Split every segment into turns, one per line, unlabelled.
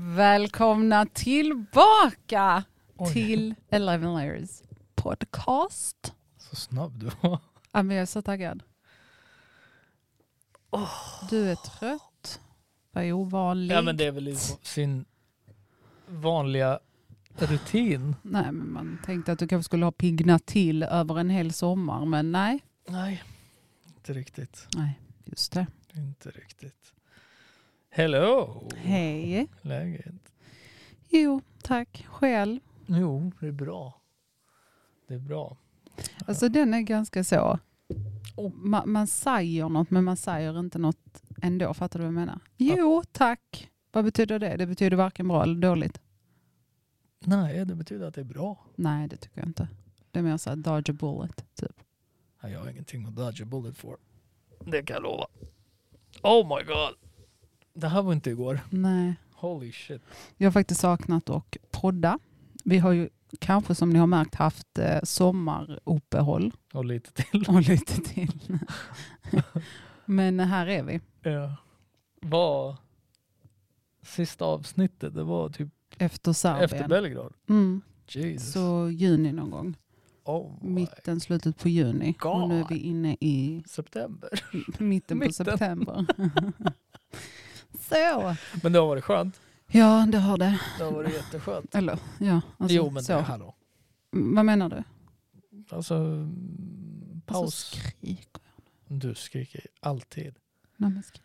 Välkomna tillbaka till Eleven Layers podcast.
Så snabb du var.
Ja, men jag är så taggad. Du är trött. Vad ovanligt.
Ja men det är väl i sin vanliga rutin.
Nej, men man tänkte att du kanske skulle ha piggnat till över en hel sommar, men nej.
Nej, inte riktigt.
Nej, just det.
Inte riktigt. Hello!
Hej.
Läget?
Jo, tack. Själv.
Jo, det är bra. Det är bra.
Alltså den är ganska så.
Oh.
Man, man säger något men man säger inte något ändå. Fattar du vad jag menar? Jo, tack. Vad betyder det? Det betyder varken bra eller dåligt.
Nej, det betyder att det är bra.
Nej, det tycker jag inte. Det är mer såhär dodge a bullet. Typ.
Nej, Jag har ingenting att dodge a bullet för. Det kan jag lova. Oh my god! Det här var inte igår.
Nej.
Holy shit.
Jag har faktiskt saknat och podda. Vi har ju kanske som ni har märkt haft eh, sommaruppehåll
Och lite till.
och lite till. men här är vi.
Ja. Var sista avsnittet, det var typ
Efter
efter
Serbien.
Belgrad.
Mm.
Jesus.
Så juni någon gång.
oh my
mitten, slutet på juni. Och nu är
God.
vi inne i
September.
mitten på
Mitten.
september. så.
Men det har varit skönt.
Ja, det har det.
Det har varit jätteskönt.
Eller ja, alltså,
jo men
så.
det, hallå.
Mm, Vad menar du?
Alltså mm, paus.
Alltså, skrik.
du skriker alltid.
Nej, men skrik.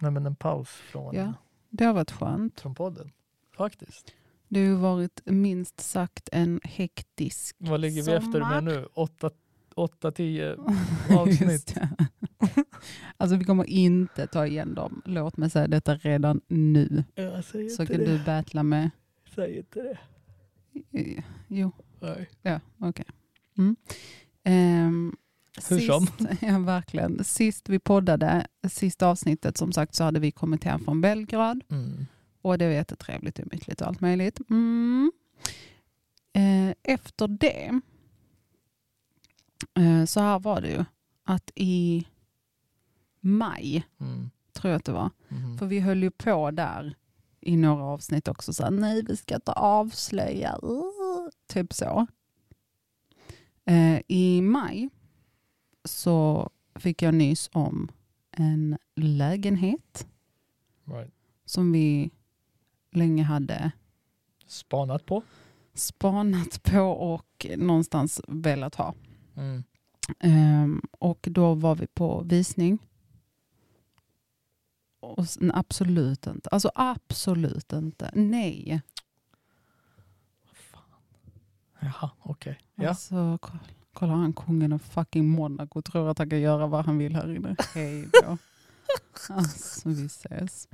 Nej men en paus från,
Ja. Det har varit skönt.
från podden. Faktiskt.
Det har ju varit minst sagt en hektisk
Vad ligger vi efter
Sommar.
med nu? Åtta, åtta tio
Just
avsnitt.
det. alltså vi kommer inte ta igen dem. Låt mig säga detta redan nu.
Jag säger
Så
inte
kan
det.
du battla med... Eh,
Säg inte det.
Jo,
Nej.
Ja, okej. Mm. Ehm,
Hur som.
sist- Ja, verkligen. Sist vi poddade, sista avsnittet som sagt så hade vi kommit hem från Belgrad
Mm.
och det var jättetrevligt och mysigt och allt möjligt. Mm. Eh, efter det, eh, så här var det ju, att i maj
Mm.
tror jag att det var,
Mm.
för vi höll ju på där i några avsnitt också. Så här, nej, vi ska inte avslöja. uh, Typ så. Eh, I maj så fick jag nys om en lägenhet
Right.
som vi länge hade
Spanat på.
spanat på och någonstans velat ha.
Mm.
Ehm, och då var vi på visning. Och sen, absolut inte. Alltså absolut inte. Nej.
Jaha, okej. Ja.
Alltså, kolla, kolla han kungen av fucking Monaco tror att han kan göra vad han vill här inne. Hej då. Alltså vi ses.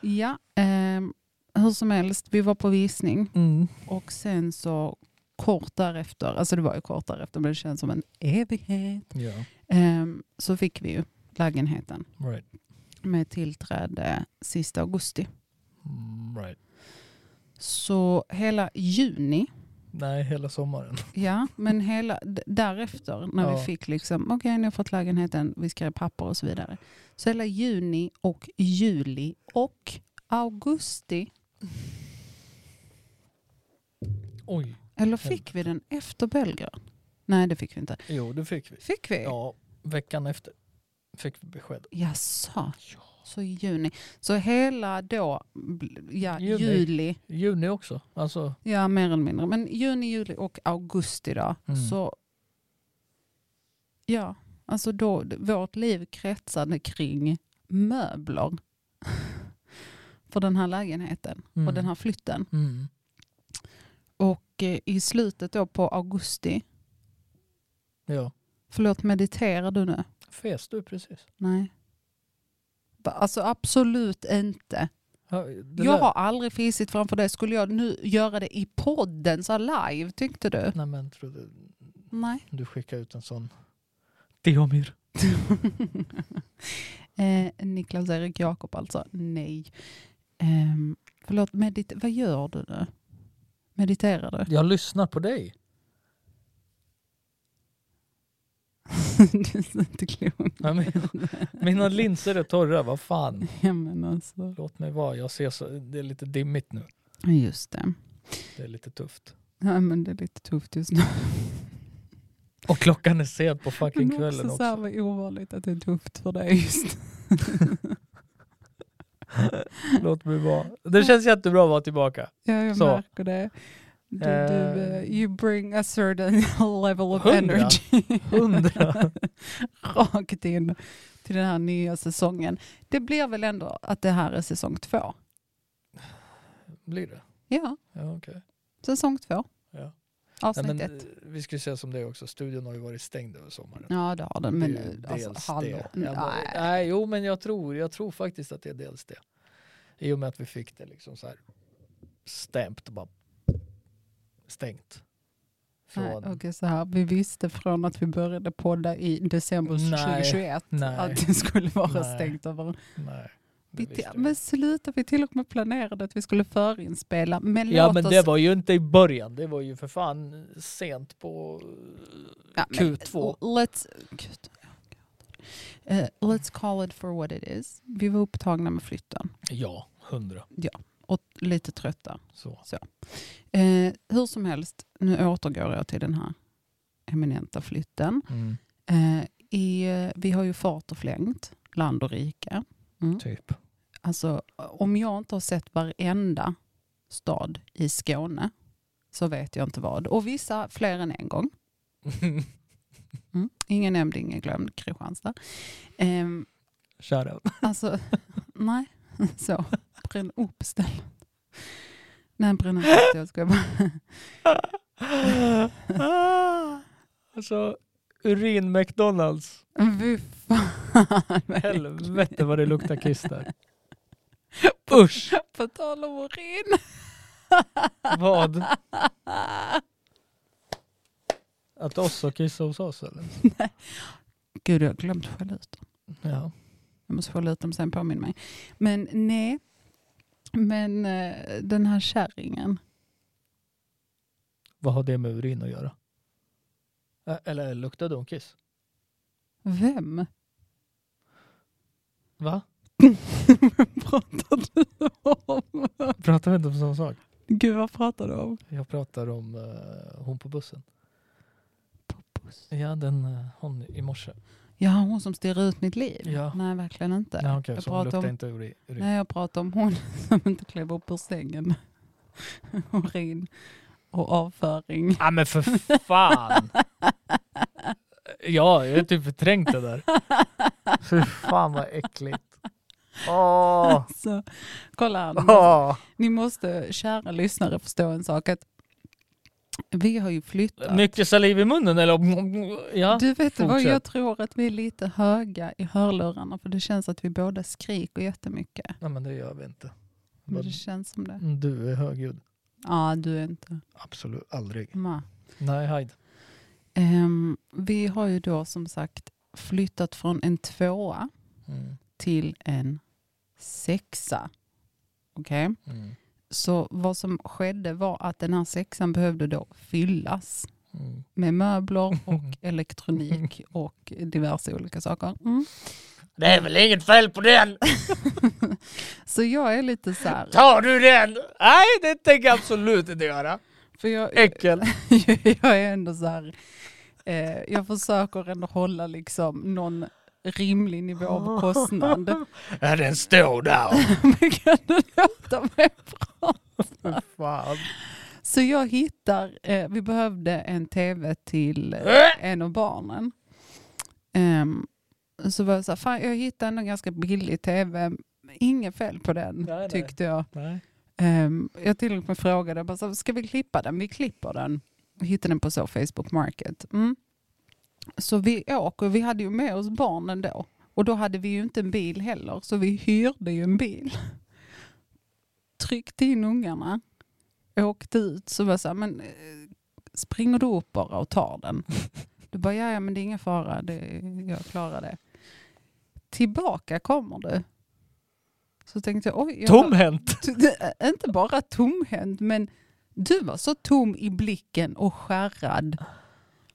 Ja, ehm, hur som helst, vi var på visning
Mm.
och sen så kort därefter, alltså det var ju kort därefter men det känns som en evighet,
Ja.
ehm, så fick vi ju lägenheten.
Right.
med tillträde sista augusti.
Mm, Right.
Så hela juni,
Nej, hela sommaren.
ja, men hela d- därefter när vi
Ja.
fick liksom, okej nu har jag fått lägenheten, vi skrev papper och så vidare. Så hela juni och juli och augusti,
Oj.
eller fick vi den efter Belgrad? Nej det fick vi inte.
Jo, det fick vi.
Fick vi?
Ja, veckan efter fick vi besked.
Jaså? Så i juni. Så hela då, bl- ja,
Juni.
juli,
Juni också. Alltså,
Ja, mer eller mindre. Men juni, juli och augusti då.
Mm.
Så, ja, alltså då, vårt liv kretsade kring möbler. För den här lägenheten
mm.
och den här flytten.
Mm.
Och eh, i slutet då på augusti,
Ja.
förlåt mediterar du nu?
Fes du precis?
Nej. Va- Alltså absolut inte.
Ja, det
jag
lät-
har aldrig fisit framför det. Skulle jag nu göra det i podden så här live, tyckte du?
Nej men trodde
Nej.
du skickade ut en sån. Diomir.
eh, Niklas Erik Jakob alltså, nej. Ehm, förlåt, medit- vad gör du nu? Mediterar du?
Jag lyssnar på dig.
du är så inte klok.
Nej, men- Mina linser är torra, vad fan.
Ja, men alltså.
Låt mig vara, jag ser så, det är lite dimmigt nu.
Just det.
Det är lite tufft.
Ja, men det är lite tufft just nu.
Och klockan är sent på fucking
Men
kvällen
också så här
också.
vad ovanligt att det är tufft för dig just
Låt mig vara. Det känns jättebra att vara tillbaka.
Ja, jag
Så.
märker det. Du, du,
Eh.
eh, you bring a certain level of
Hundra.
energy.
Hundra.
Rakt in till den här nya säsongen. Det blir väl ändå att det här är säsong två?
Blir det?
Ja,
Ja, okej.
säsong två.
Ja. Nej,
Avsnitt
men, eh,
ett.
vi skulle säga som det också, studion har ju varit stängd över sommaren.
Ja, det har den. Men
Det är ju
nu,
dels
alltså, hallå.
det. Jag bara,
Nej.
nej, jo men äh, jag tror, jag tror faktiskt att det är dels det. I och med att vi fick det liksom så här stämt och bara stängt.
Nej,
Från,
okej, så här. Vi visste från att vi började podda i december
Nej,
2021
nej.
att det skulle vara
Nej.
stängt över
nej, det
Vi,
visste
till-
vi.
men sluta, vi till och med planerade att vi skulle förinspela. Men
Ja
låt
men
oss...
det var ju inte i början, det var ju för fan sent på eh,
Ja, men- eh,
Q2.
Let's... Gud. Eh, let's call it for what it is. Vi var upptagna med flytten
Ja, hundra.
och lite trötta.
Så.
Eh, hur som helst, nu återgår jag till den här eminenta flytten.
Mm,
Eh, i, eh, vi har ju fart och flängt, land och rike.
typ.
Alltså, om jag inte har sett varenda stad i Skåne så vet jag inte vad. Och vissa fler än en gång. Mm. Ingen nämnd, ingen glömd, Kristianstad. Ehm,
Shoutout.
alltså, nej, så. Bränn upp stället. Nej, bränn upp stället, jag skojar bara.
alltså, urin McDonalds.
Fy fan. vad
Helvete vad det luktar kiss där. Usch,
äckligt. På tal om urin.
vad? Att också kissa hos oss eller?
Gud, jag har glömt skälla ut dem.
Ja.
Jag måste skälla ut dem sen, påminn mig. Men nej, men eh, den här kärringen.
Vad har det med urin att göra? Ä- Eller luktade hon kiss?
Vem
Va?
pratar du om?
Pratar vi inte om samma sak?
Gud, vad pratar du om?
Jag pratar om eh, hon på bussen. Ja, den eh, hon i morse.
Ja, hon som styr ut mitt liv.
Ja.
Nej, verkligen inte.
Ja, okej,
jag
så hon
pratar
luktar
om-
inte uri- urin.
Nej, jag pratar om hon som inte klev upp ur sängen. Urin och avföring.
Ja Ah, men för fan. Ja, jag har typ förträngt det där. Fy fan vad äckligt. Åh.
Så, kolla här, ni, måste,
Åh.
ni måste, kära lyssnare, förstå en sak. Att vi har ju flyttat.
Mycket saliv i munnen eller? Ja.
du vet vad,
fortsätt.
jag tror att vi är lite höga i hörlurarna för det känns att vi båda skriker jättemycket.
Nej men det gör vi inte.
Men
Men
det känns som det.
Du är högljudd.
Ja, du är inte.
Absolut aldrig.
Ma.
Nej, hajd.
Ehm, vi har ju då som sagt flyttat från en tvåa
Mm.
till en sexa. Okej?
Mm.
Så vad som skedde var att den här sexan behövde då fyllas
Mm.
med möbler och elektronik och diverse olika saker. Mm.
Det är väl inget fel på den?
Så jag är lite så här,
Tar du den? Nej, det tänker jag absolut inte göra.
för jag,
Äckel.
jag är ändå så här, eh, jag försöker ändå hålla liksom någon rimlig nivå
Ah.
av kostnad.
Ja, den står där.
Men kan du låta mig prata?
Fy fan.
Så jag hittar, eh, vi behövde en tv till eh,
Äh!
en av barnen. Ehm, så var jag så här, fan jag hittade ändå en ganska billig tv, inget fel på den
Nej, nej.
tyckte jag.
Nej.
Ehm, jag till och med frågade, bara, så här, ska vi klippa den? Vi klipper den. Jag hittade den på så Facebook Market. Mm. Så vi åker, vi hade ju med oss barnen då. Och då hade vi ju inte en bil heller, så vi hyrde ju en bil. Tryckte in ungarna, åkte ut, så var jag så här, men eh, springer du upp bara och tar den? Du bara, ja, ja men det är ingen fara, det, jag klarar det. Tillbaka kommer du. Så tänkte jag, oj. Jag har-
Tomhänt.
T- det är inte bara tomhänt, men du var så tom i blicken och skärrad.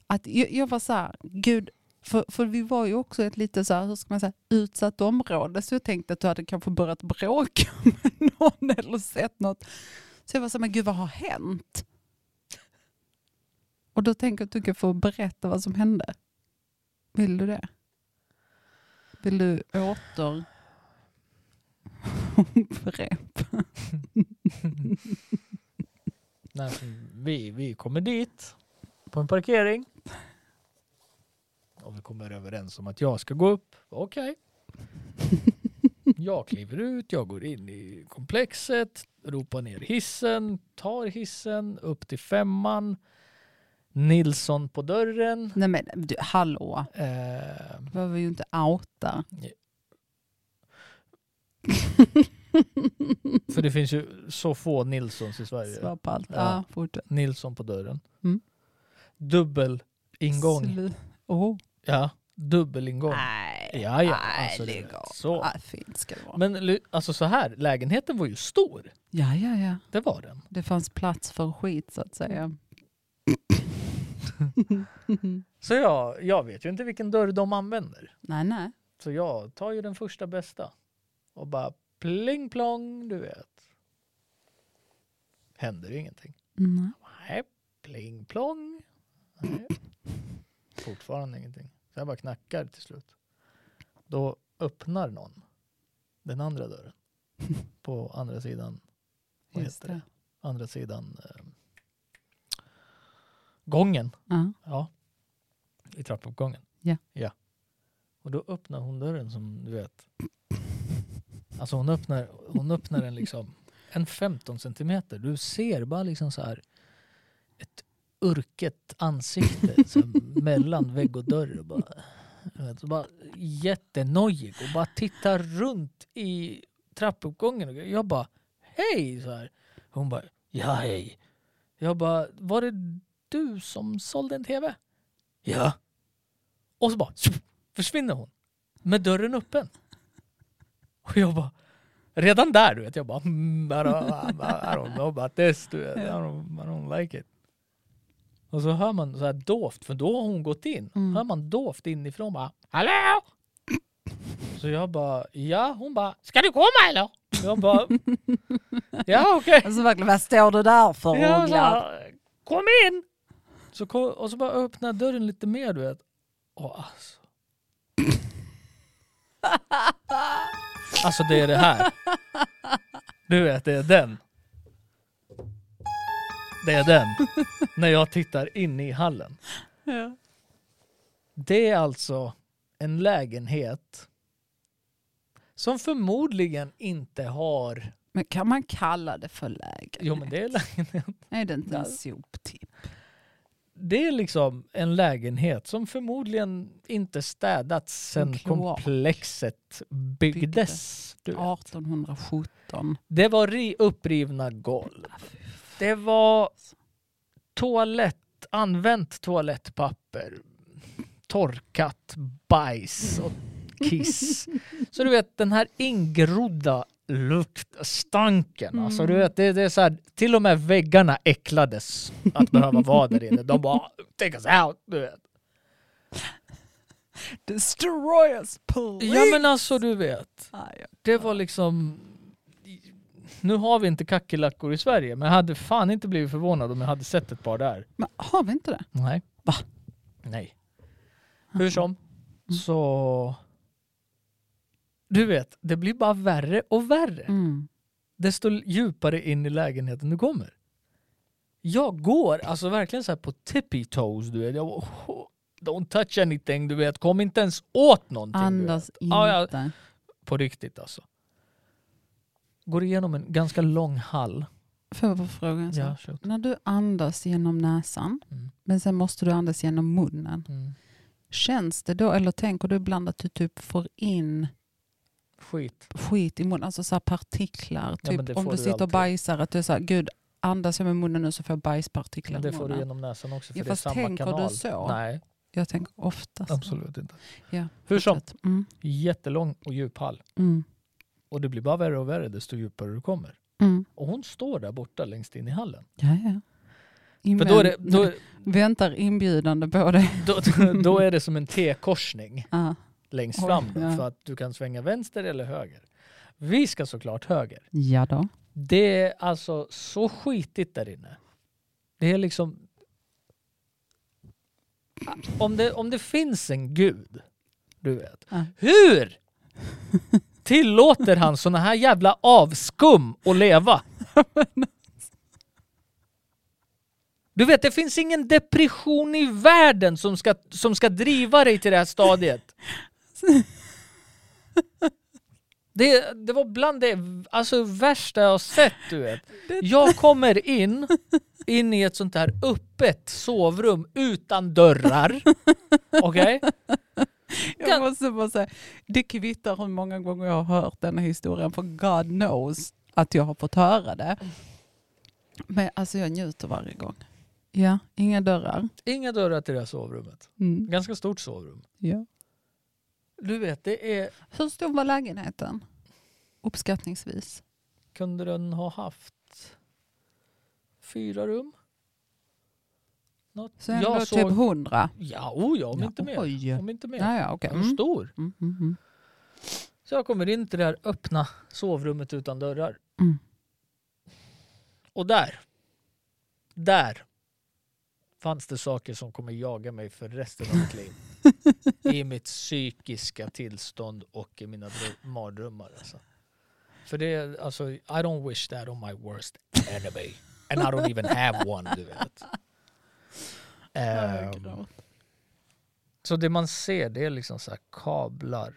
Att jag, jag var så här, gud, För, för vi var ju också ett lite så här, hur ska man säga, utsatt område. Så jag tänkte att du hade kanske börjat bråka med någon eller sett något. Så jag var så här, men gud vad har hänt? Och då tänker jag att du kan få berätta vad som hände. Vill du det? Vill du åter upprepa?
Nej, vi, vi kommer dit på en parkering. Och vi kommer överens om att jag ska gå upp. Okej. Jag kliver ut, jag går in i komplexet, ropar ner hissen, tar hissen upp till femman. Nilsson på dörren.
Nej men du, hallå,
Eh,
du behöver ju inte outa.
för det finns ju så få Nilssons i Sverige.
Svar på allt.
Ja.
Ja, fortsätt.
Nilsson på dörren.
Mm.
Dubbel ingång.
Slu- Åh.
Ja, dubbel ingång.
Nej,
Ja, ja,
nej,
alltså det-
lägg av.
så.
Ja, fint ska det vara.
Men ly- alltså så här, lägenheten var ju stor.
ja, ja, ja.
Det var den.
Det fanns plats för skit så att säga.
Så jag, jag vet ju inte vilken dörr de använder.
Nej, nej.
Så jag tar ju den första bästa. Och bara pling plong, du vet. Händer ju ingenting.
nej.
Nej, pling plong. Nej. Fortfarande ingenting. Så jag bara knackar till slut. Då öppnar någon den andra dörren. På andra sidan, vad
Just
heter det?
det.
Andra sidan eh, gången.
Ja.
Ja. I trappuppgången?
Ja.
ja. Och då öppnar hon dörren som du vet. Alltså hon öppnar, hon öppnar den liksom en 15 centimeter. Du ser bara liksom så här ett urket ansikte så här, mellan vägg och dörr. Och bara, du vet, och bara jättenojig och bara tittar runt i trappuppgången. Och jag bara hej så här. Hon bara ja hej. Jag bara var det du som sålde en tv? Ja. Och så bara tjoff, försvinner hon. Med dörren öppen. Och jag bara, redan där du vet, jag bara, mm, I, don't, I don't know about this, du vet. I, don't, I don't like it. Och så hör man så här dovt, för då har hon gått in.
Mm.
Hör man dovt inifrån bara, hallå? Så jag bara, ja, hon bara, ska du komma eller? Jag bara, ja okej.
Alltså verkligen, vad står du där för
Ja, så
Uggla?
här, kom in! Så kom, och så bara öppnade dörren lite mer du vet. Åh, alltså. alltså det är det här. Du vet, det är den. Det är den. När jag tittar in i hallen.
Ja.
Det är alltså en lägenhet som förmodligen inte har...
Men kan man kalla det för läger?
Jo men det är, lä-
Är det inte en
Ja.
soptipp?
det är liksom en lägenhet som förmodligen inte städats
En
sedan
kloak.
komplexet byggdes. Du. vet.
1817.
Det var ri- upprivna golv. Det var toalett, använt toalettpapper, torkat bajs och kiss. Så du vet den här ingrodda lukt, stanken. Alltså, du vet, det, det är så här, till och med väggarna äcklades att behöva vara där inne. De bara take us out. Du vet.
Destroy us police!
Ja men alltså du vet.
Ah, ja.
Det var liksom... Nu har vi inte kackerlackor i Sverige, men jag hade fan inte blivit förvånad om jag hade sett ett par där.
Men har vi inte det?
Nej.
Va?
Nej. Hur som,
Mm.
så... Du vet, det blir bara värre och värre.
Mm.
Desto djupare in i lägenheten du kommer. Jag går alltså verkligen så här på tippy toes, du vet. Jag bara, "Oh, don't touch anything, du vet. Kom inte ens åt någonting. du vet."
Andas inte.
Ja, ja. På riktigt alltså. Går igenom en ganska lång hall.
Får jag bara fråga en sak?
Ja, shoot.
När du andas genom näsan,
Mm.
men sen måste du andas genom munnen.
Mm.
Känns det då, eller tänker du ibland att du typ får in
Skit.
skit i munnen, alltså så här partiklar?
Ja,
Typ
men det
om
får
du
du
sitter och
alltid.
bajsar, att du är så här, gud andas jag med munnen nu så får jag bajspartiklar
Men det
i
får du
munnen.
genom näsan också för
Ja,
det är
fast
samma
tänker
kanal.
du så?
Nej,
Jag tänker oftast.
absolut inte.
Alltså. Ja,
Hur som,
fortsätt. Mm,
jättelång och djup hall.
mm,
Och det blir bara värre och värre desto djupare du kommer.
mm.
Och hon står där borta längst in i hallen.
Ja, ja.
För då är det,
Invänt-
då,
Väntar inbjudande på dig.
då, då är det som en T-korsning
Ja.
längst
Oj,
fram. Då,
ja.
För att du kan svänga vänster eller höger. Vi ska såklart höger.
ja då.
Det är alltså så skitigt där inne. Det är liksom... Om det, om det finns en gud, du vet.
Ja.
Hur tillåter han såna här jävla avskum att leva? Du vet, det finns ingen depression i världen som ska, som ska driva dig till det här stadiet. Det, det var bland det alltså, värsta jag har sett, du vet. Jag kommer in, in i ett sånt här öppet sovrum utan dörrar. Okej?
Jag måste bara säga, det kvittar hur många gånger jag har hört den här historien för God knows att jag har fått höra det. Men alltså jag njuter varje gång. Ja, inga dörrar.
Inga dörrar till det här sovrummet.
Mm.
Ganska stort sovrum.
Ja.
Du vet, det är...
Hur stor var lägenheten? Uppskattningsvis.
Kunde den ha haft fyra rum? Något.
Så ändå
Jag
typ
såg...
100?
Ja, oh ja, om inte mer.
Oj. Ja,
Om inte mer.
ja, okej.
Hur
Mm.
stor?
Mm, mm, mm.
Så jag kommer in till det här öppna sovrummet utan dörrar.
Mm.
Och där, där fanns det saker som kommer jaga mig för resten av mitt liv. I mitt psykiska tillstånd och i mina drö- mardrömmar. Alltså. För det är alltså, I don't wish that on my worst enemy. And I don't even have one, du vet. Ehm, så det man ser det är liksom så här kablar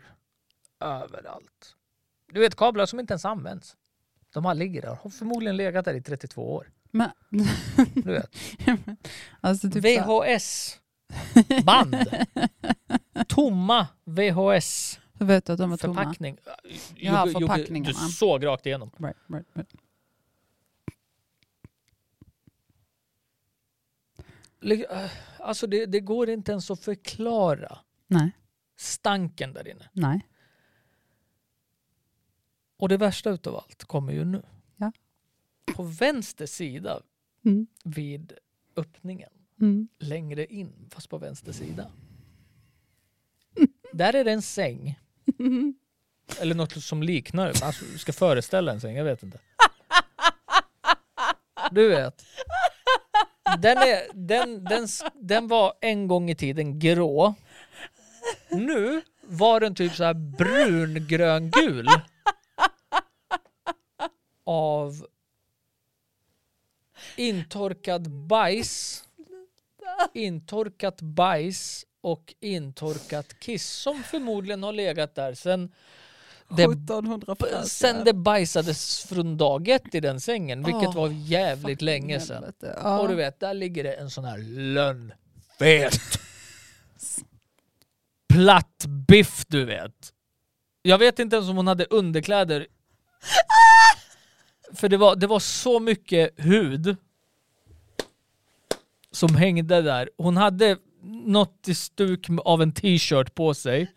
överallt. Du vet kablar som inte ens används. De här ligger där. Har förmodligen legat där i 32 år.
Men,
Du vet.
alltså typ så här-
VHS. Band. Tomma VHS.
Hur vet du att de var tomma?
Förpackning.
Ja,
Jogge- Jogge,
förpackningarna.
Du såg rakt igenom.
Right, right, right.
Lig- äh, Alltså det, det går inte ens att förklara
Nej,
stanken där inne.
nej.
Och det värsta utav allt kommer ju nu.
Ja.
På vänster sida
Mm.
vid öppningen
Mm.
längre in, fast på vänster sida. Där är det en säng. Eller något som liknar, alltså, du ska föreställa en säng, jag vet inte. Du vet. Den, är, den, den, s- den var en gång i tiden grå. Nu var den typ så här brun, grön, gul. Av intorkad bajs intorkat bajs och intorkat kiss som förmodligen har legat där sen det,
1700
sen det bajsades från dag ett i den sängen, vilket
Åh,
var jävligt länge sedan.
Ja.
Och du vet, där ligger det en sån här lönnfet platt biff, du vet. Jag vet inte ens om hon hade underkläder. För det var, det var så mycket hud som hängde där. Hon hade något i stuk av en t-shirt på sig.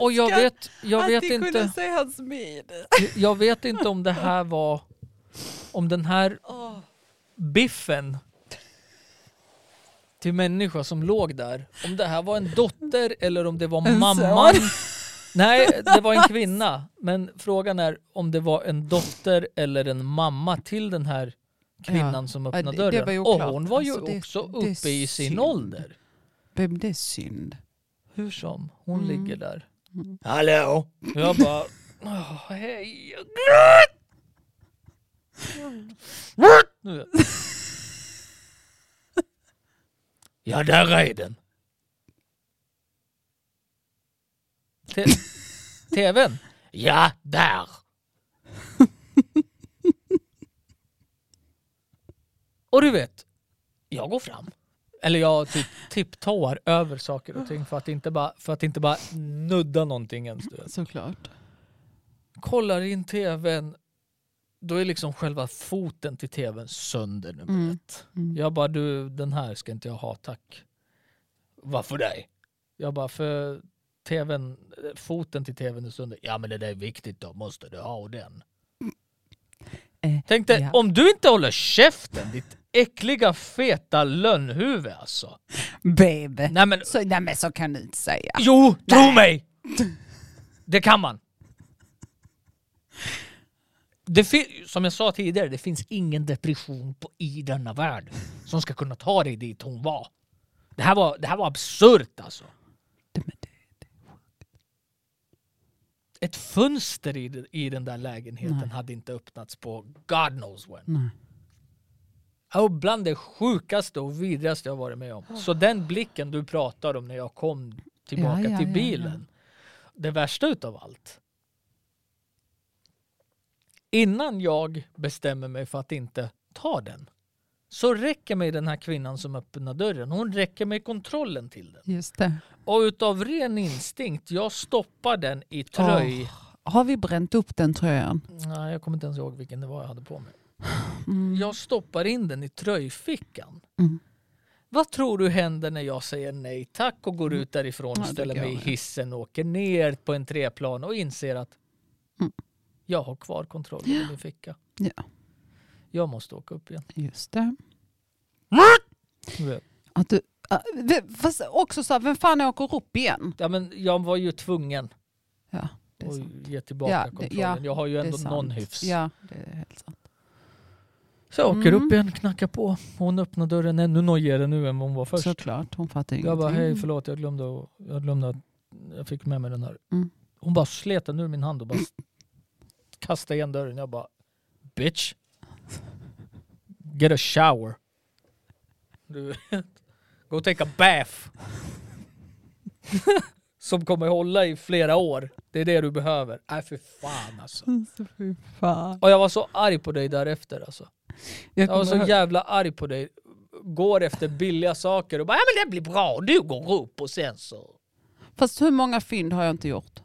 Och jag vet, jag vet inte...
se hans min.
Jag vet inte om det här var... Om den här biffen till människa som låg där, om det här var en dotter eller om det var
En Alltså.
mamman. Nej, det var en kvinna. Men frågan är om det var en dotter eller en mamma till den här kvinnan
Ja.
som
Ja,
öppnade
det- det
dörren.
var ju
Och
oklart.
hon var ju
Alltså, det-
också
det är
uppe i sin
synd.
ålder.
Babe, det är synd.
Hur som, hon
Mm.
ligger där.
Mm.
Hallå! Jag bara, åh, hej.
Mm.
Nu vet jag. Ja, där är den. Te- TVn? Ja, där. Och du vet, jag går fram. Eller jag typ tipptår över saker och ting för att inte bara, för att inte bara nudda någonting ens. Du vet
Såklart.
kollar in tvn, då är liksom själva foten till tvn sönder nummer
Mm.
ett.
Mm.
Jag bara, du den här ska inte jag ha tack. Varför dig? Jag bara, för tvn, foten till tvn och stunden. Ja men det där är viktigt då, måste du ha den?
Eh,
Tänk dig,
ja.
om du inte håller käften ditt äckliga feta lönnhuvud alltså.
Babe.
Nej men
Så, nej men så kan du inte säga.
jo, tro mig! Det kan man. Det fin- som jag sa tidigare, det finns ingen depression på, i denna värld som ska kunna ta dig dit hon var. Det här var, det här var absurt alltså.
Nej, men det-
ett fönster i, den- i den där lägenheten
Nej.
hade inte öppnats på God knows when.
Nej.
Det var bland det sjukaste och vidrigaste jag varit med om. Så den blicken du pratar om när jag kom tillbaka
Ah. Ja, ja,
till
ja,
bilen. Det värsta utav allt. Innan jag bestämmer mig för att inte ta den. Så räcker mig den här kvinnan som öppnar dörren. Hon räcker mig kontrollen till den.
Just det.
Och utav ren instinkt, jag stoppar den i tröj.
Har vi bränt upp den tröjan?
Nej, jag kommer inte ens ihåg vilken det var jag hade på mig.
Mm.
Jag stoppar in den i tröjfickan.
Mm.
Vad tror du händer när jag säger nej tack och går ut därifrån
Mm. Ja,
och
det
ställer
går
mig i
med.
hissen och åker ner på en treplan och inser att
Mm.
jag har kvar kontrollen i min ficka.
Ja.
Jag måste åka upp igen.
Just det.
Du vet.
Att du, äh, v- fast också så här, vem fan åker upp igen?
Ja, men jag var ju tvungen
Ja, det är sant.
att ge tillbaka
Ja, det-
kontrollen.
ja,
jag har ju
Det är
ändå någon
sant.
hyfs.
Ja, det är helt sant.
Så jag åker
Mm.
upp igen, knackar på. Hon öppnar dörren ännu nojigare nu än vad hon var först.
Såklart, hon fattar ingenting.
Jag bara, hej förlåt jag glömde, att- jag glömde att jag fick med mig den här.
Mm.
Hon bara slet den ur min hand och bara kastade igen dörren. Jag bara, bitch. Get a shower. Du vet. Go take a bath. Som kommer hålla i flera år. Det är det du behöver. Nej för fan alltså.
Alltså, fy fan.
Och jag var så arg på dig därefter alltså.
Jag
Jag var
kommer
så
ihåg-
jävla arg på dig. Går efter billiga saker och bara ja men det blir bra, du går upp och sen så.
Fast hur många fynd har jag inte gjort?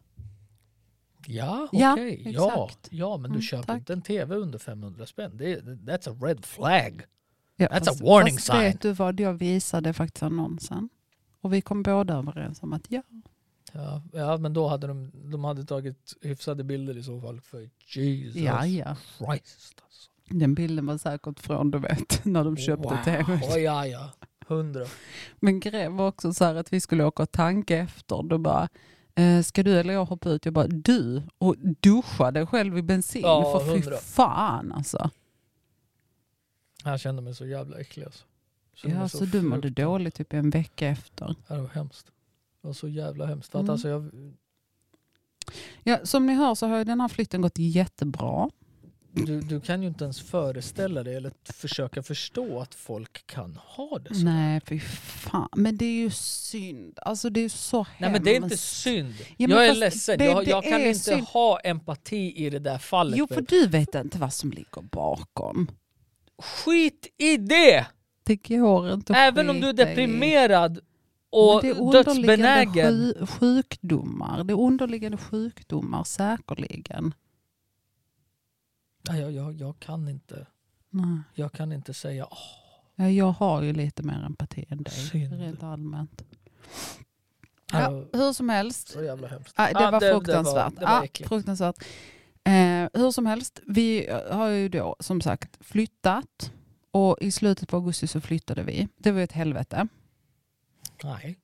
Ja
Ja,
okej, ja, ja,
exakt.
men du
Mm,
köper
tack.
inte en tv under 500 spänn. Det, är- that's a red flag.
Ja,
That's a warning
fast
sign.
Vet du vad, jag visade faktiskt annonsen. Och vi kom båda överens om att ja.
Ja, ja men då hade de, de hade tagit hyfsade bilder i så fall för Jesus
Ja, ja.
Christ. Alltså.
Den bilden var säkert från, du vet, när de köpte
Wow.
tv.
Oh, ja ja, hundra.
Men grejen var också så här att vi skulle åka och tanka efter. Då bara, eh, ska du eller jag hoppa ut? Jag bara, du? Och duscha dig själv i bensin?
Ja,
för fy
hundra.
fan alltså.
Jag kände mig så jävla äcklig alltså. Jag kände
Ja,
mig
så, du mådde
fruktansvärt
dåligt typ en vecka efter.
Ja, det var hemskt. Det var så jävla hemskt. För att
Mm.
Alltså jag,
Ja, som ni hör så har ju den här flytten gått jättebra.
du, du kan ju inte ens föreställa dig eller t- försöka förstå att folk kan ha det så. Nej,
Nej, fy fan. Men det är ju synd. Alltså det är ju så hemskt.
men det är inte synd.
men
jag är
fast,
ledsen.
babe,
jag,
det
jag kan
är
inte
synd.
ha empati i det där fallet.
Jo, för
babe.
du vet inte vad som ligger bakom.
Skit i det!
Det går inte att
Även om du är
skita i.
deprimerad
Men
och
det är underliggande
dödsbenägen.
sju- sjukdomar. Det är underliggande sjukdomar säkerligen.
Nej, jag, jag, jag, kan inte,
Nej.
jag kan inte säga "Ah, "Åh,
Ja, Jag har ju lite mer empati än dig,
Synd.
rent allmänt.
Ja,
Ja, hur som helst,
så jävla hemskt.
Ah,
Ja,
det var
det- det var-
fruktansvärt.
det var
Ah,
äckligt.
fruktansvärt. Eh, hur som helst, vi eh, har ju då som sagt flyttat och i slutet på augusti så flyttade vi. Det var ju ett helvete.
Nej,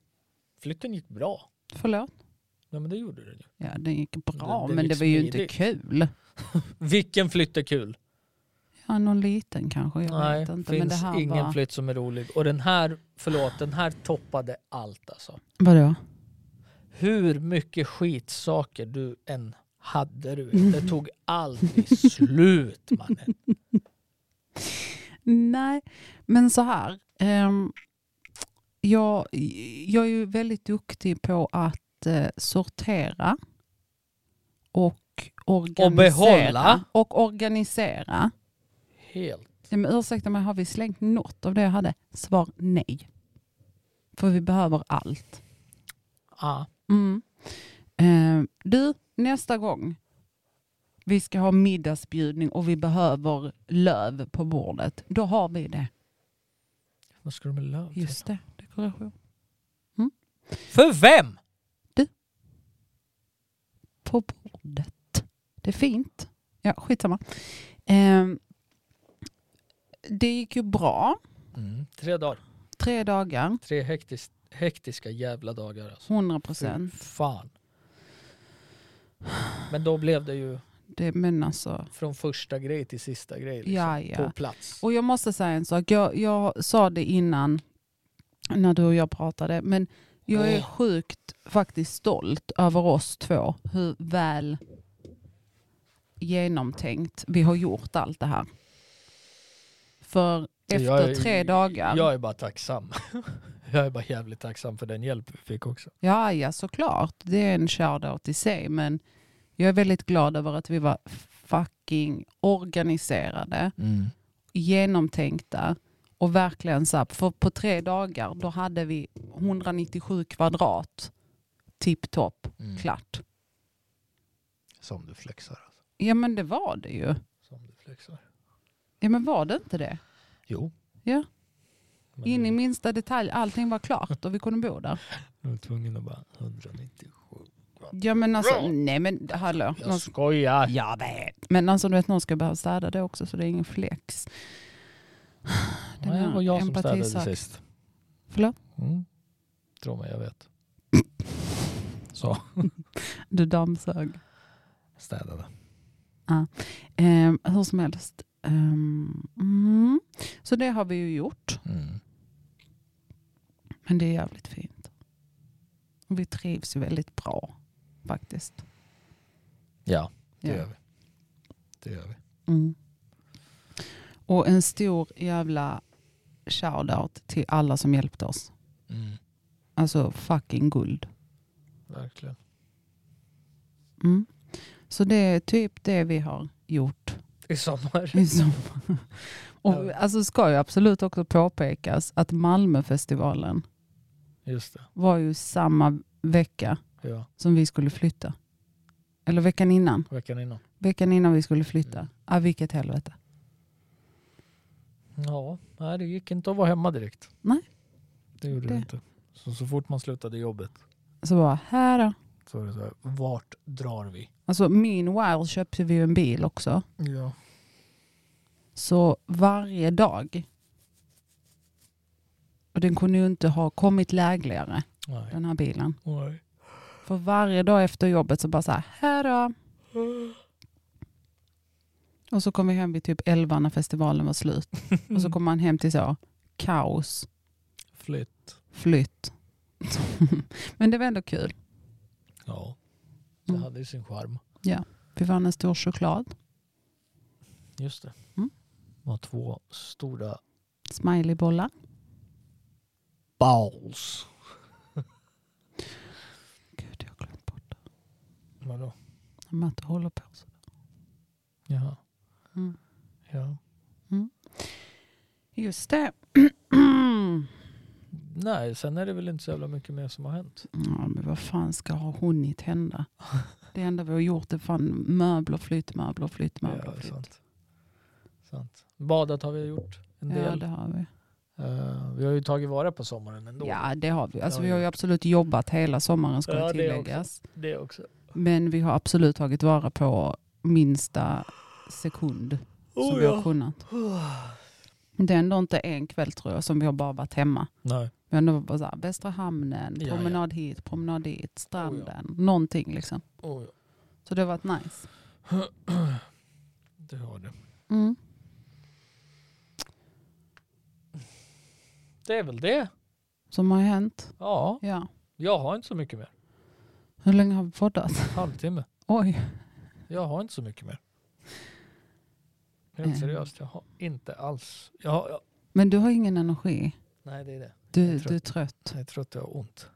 flytten gick bra.
Förlåt?
Ja, men det gjorde den ju.
Ja, det gick bra,
Det- det
men det
gick
var ju inte
smidigt.
kul.
Vilken flytt är kul?
Ja, någon liten kanske, jag vet inte.
finns
men det här
ingen
var...
flytt som är rolig. Och den här, förlåt, den här toppade allt alltså.
Vadå?
Hur mycket skitsaker du än hade du
Mm.
vet. Det tog aldrig slut mannen.
Nej, men så här. ehm, jag, jag är ju väldigt duktig på att eh, sortera och organisera.
behålla.
Och organisera.
Helt.
Ja, men ursäkta mig, har vi slängt något av det jag hade? Svar nej. För vi behöver allt.
Ah.
Mm. Ehm, du, nästa gång vi ska ha middagsbjudning och vi behöver löv på bordet, då har vi det.
Vad ska du med löv till?
Just det, dekoration.
För vem?
Du. på bordet. Det är fint. Ja, skitsamma. Ehm, det gick ju bra.
Mm. Tre dagar.
Tre dagar,
Tre hektis, hektiska jävla dagar alltså.
100
Fy
procent.
fan. Men då blev det ju
Men alltså,
från första grej till sista grej liksom,
ja,
på
ja.
plats.
Och jag måste säga en sak. Jag, jag sa det innan när du och jag pratade. Men jag är
Åh.
sjukt faktiskt stolt över oss två. Hur väl genomtänkt vi har gjort allt det här. För
Jag
efter
är-
tre dagar.
Jag är bara tacksam. jag är bara jävligt tacksam för den hjälp vi fick också.
Ja, ja såklart. Det är en shoutout i sig. Men jag är väldigt glad över att vi var fucking organiserade.
Mm.
genomtänkta och verkligen så här, för på tre dagar då hade vi 197 kvadrat tipptopp
Mm.
klart.
Som du flexar. Alltså.
Ja men det var det ju.
Som du flexar.
Ja men var det inte det?
Jo.
Ja.
Men
In i minsta detalj, allting var klart och vi kunde bo där.
Jag var tvungen att bara 190.
Ja men alltså, nej men hallå. Någon,
Jag skojar.
jag vet. Men alltså du vet någon ska behöva städa det också så det är ingen flex. Den
Nej, det
här
var jag som
empati
städade
sak.
sist.
Förlåt?
Mm. Tror mig, jag vet. Så,
Du dammsög.
städade.
Ehm, hur som helst. Ehm, mm. Så det har vi ju gjort.
Mm.
Men det är jävligt fint. Och vi trivs ju väldigt bra faktiskt.
Ja, det
Ja.
gör vi. Det gör vi.
Mm. Och en stor jävla shoutout till alla som hjälpte oss.
Mm.
Alltså fucking guld.
Verkligen.
Mm. Så det är typ det vi har gjort
I sommar.
i sommar. Och alltså ska ju absolut också påpekas att Malmöfestivalen
Just det.
var ju samma vecka
Ja,
som vi skulle flytta. Eller veckan innan.
veckan innan.
Veckan innan vi skulle flytta. Ah, vilket helvete.
Ja, nej, det gick inte att vara hemma direkt.
Nej.
Det gjorde det,
Det-
inte. Så, så fort man slutade jobbet
Så bara, här då.
så var det så här, vart drar vi?
Alltså meanwhile köpte vi ju en bil också.
Ja.
Så varje dag. Och den kunde ju inte ha kommit lägligare,
Nej.
den här bilen.
Nej.
För varje dag efter jobbet så bara så här, här då. Och så kom vi hem vid typ 11 när festivalen var slut. Och så kom man hem till så, kaos.
Flytt.
flytt. Men det var ändå kul.
Ja, det
Mm.
hade ju sin charm.
Vi vann en stor choklad,
Just det.
Mm.
Det var två stora
smileybollar.
balls.
Gud, jag har glömt bort det.
Vadå?
När Matte håller på så.
Jaha.
Mm.
Ja.
Just det.
Nej, sen är det väl inte så jävla mycket mer som har hänt.
ja, men vad fan ska ha hunnit hända? Det enda vi har gjort är fan möbler, flytt, möbler, flytt,
Ja,
möbler, flytt.
sant. sant. Badat har vi gjort en
Ja,
del.
det har vi.
Eh, vi har ju tagit vara på sommaren ändå.
Ja, det har vi. Alltså,
Ja,
vi har ju
ja.
absolut jobbat hela sommaren ska
Ja, det också.
tilläggas.
Det också.
Men vi har absolut tagit vara på minsta sekund
Oh,
som vi har kunnat. Det är ändå inte en kväll tror jag som vi har bara varit hemma.
Nej.
Vi har ändå bara så här, Västra hamnen,
Ja, ja.
promenad hit, promenad dit, stranden, någonting liksom.
Oh, ja.
Så det har varit nice.
Det har det.
Mm.
Det är väl det.
Som har hänt.
Ja,
Ja.
jag har inte så mycket mer.
Hur länge har vi poddat?
Halvtimme.
Oj.
Jag har inte så mycket mer.
Mm.
Helt seriöst, jag har inte alls. Jag har, jag,
Men du har ingen energi.
nej, det är det. Jag
Du,
är trött.
du är trött.
Jag är trött och jag har ont.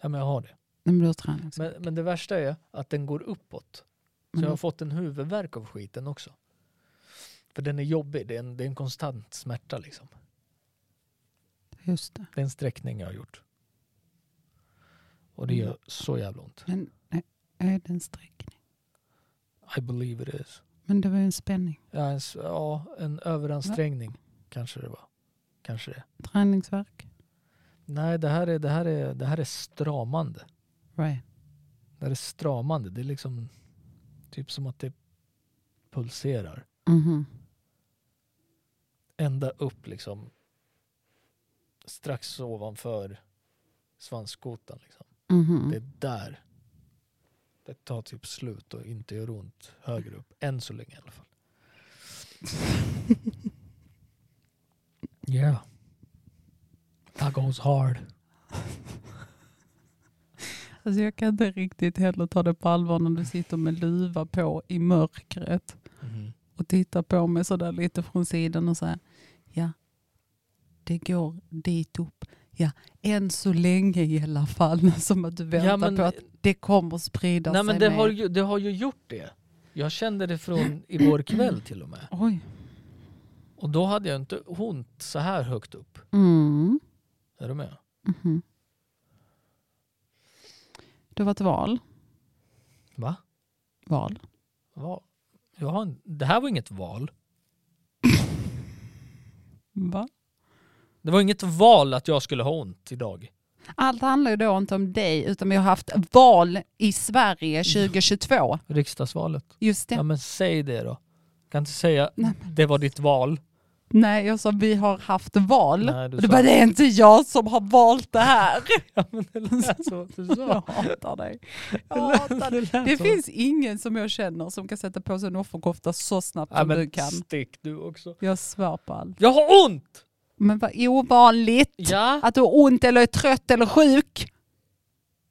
Ja, men jag har det.
Nej, men du har tränat. också.
Men, men det värsta är att den går uppåt. Så
Men
jag har
då-
fått en huvudvärk av skiten också. För den är jobbig. Det är en, det är en konstant smärta liksom.
Just det.
Det är en sträckning jag har gjort. Och det gör så jävla ont.
Men nej, är det en sträckning?
I believe it is.
Men det var ju en spänning.
Ja, en, s- ja, en överansträngning kanske det var. Kanske det.
Träningsvärk.
Nej, det här är, det här är, det här är stramande.
Right.
När det är stramande, det är liksom typ som att det pulserar. Mm-hmm.
Mhm.
Ända upp liksom. Strax ovanför svanskotan. Liksom.
Mhm.
Det är där det tar typ slut och inte gör ont högre upp. Än så länge i alla fall. Ja. Yeah. That goes hard.
Alltså jag kan inte riktigt heller ta det på allvar när du sitter med luva på i mörkret
Mhm.
och tittar på mig sådär lite från sidan och säger ja, det går dit upp. Ja, än så länge i alla fall. Som att du väntar på att det kommer sprida
nej,
sig
men det
mer.
har, ju, det har ju gjort det. Jag kände det från igår kväll till och med.
Oj.
Och då hade jag inte ont så här högt upp.
Mm.
Är du med?
Mhm. Det var ett val.
Va?
Val.
Va? Jag har en, det här var inget val.
Va?
Det var inget val att jag skulle ha ont idag.
Allt handlar ju då inte om dig utan vi har haft val i Sverige 2022.
Riksdagsvalet.
Just det.
Ja men säg det då. Kan inte säga
Nej,
det var ditt val.
Nej, jag sa vi har haft val.
Nej, du
och du
sa-
bara, det är inte jag som har valt det här.
Ja, men det lät så. Du
Jag
sa.
hatar dig. Jag
Det lät,
hatar dig.
det lät
Det
så.
finns ingen som jag känner som kan sätta på sig en offerkofta så snabbt
ja,
som
men
du kan.
Stick du också.
Jag svär på allt.
Jag har ont!
Men vad ovanligt
Ja.
att du har ont eller är trött eller sjuk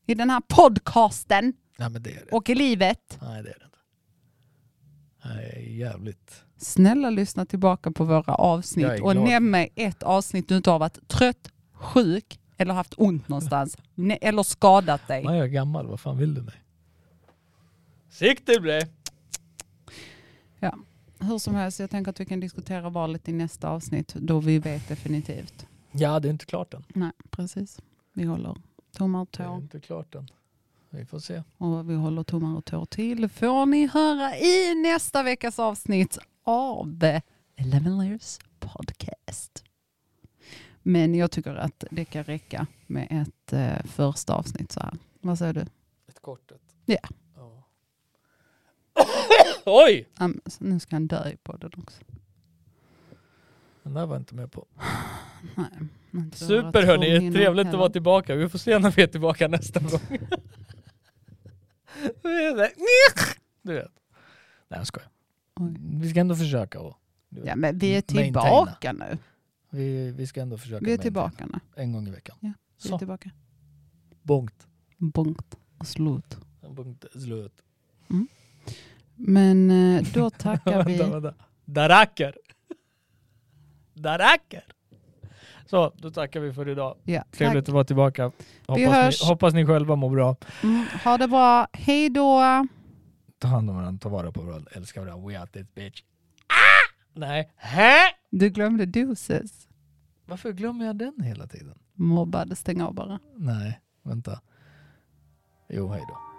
i den här podcasten
Nej men det är det.
och i livet.
Nej det är det inte. Nej jag är jävligt.
Snälla lyssna tillbaka på våra
Jag
avsnitt
är
och
glad.
nämn mig ett avsnitt du inte har varit trött, sjuk eller haft ont någonstans. Ne- eller skadat dig.
Nej jag är gammal, vad fan vill du mig? Sikte ble.
Hur som helst, jag tänker att vi kan diskutera valet i nästa avsnitt då vi vet definitivt.
Ja det är inte klart än.
Nej, precis. Vi håller tummar och
Det är
tår
inte klart än. Vi får se.
Mm. och vi håller tummar och tår till får ni höra i nästa veckas avsnitt av Eleven Layers Podcast. Men jag tycker att det kan räcka med ett eh, första avsnitt så här. Vad säger du?
Ett kortet.
Ja.
ja. Oj!
Ja, men så Nu ska han dö i podden också.
Den där var jag inte med på.
Nej, inte höra
Super hörni,
tvungen
trevligt att
heller.
vara tillbaka. Vi får se när vi är tillbaka nästa gång. du vet. Nej jag skojar.
Oj.
Vi ska ändå försöka. Och,
Ja, men vi är
Maintaina.
tillbaka nu.
vi, vi ska ändå försöka.
Vi är
med en-
tillbaka nu.
En gång i veckan.
Ja, Vi är
Så,
tillbaka.
bonkt.
Bonkt och slut.
Bonkt, slut.
Men eh, då tackar
Vänta,
vi.
vänta. Det räcker. Det räcker. Så, då tackar vi för idag.
Ja,
Trevligt
tack.
att vara tillbaka. Hoppas
hörs.
ni, hoppas ni själva mår bra.
Mm, ha det bra. Hej då.
Ta hand om varandra, ta vara på varandra, älska varandra. We out this bitch. Ah! Nej. Hä?
Du glömde doses.
Varför glömmer jag den hela tiden?
Mobbad. Stäng av bara.
Nej, vänta. Jo, hej då.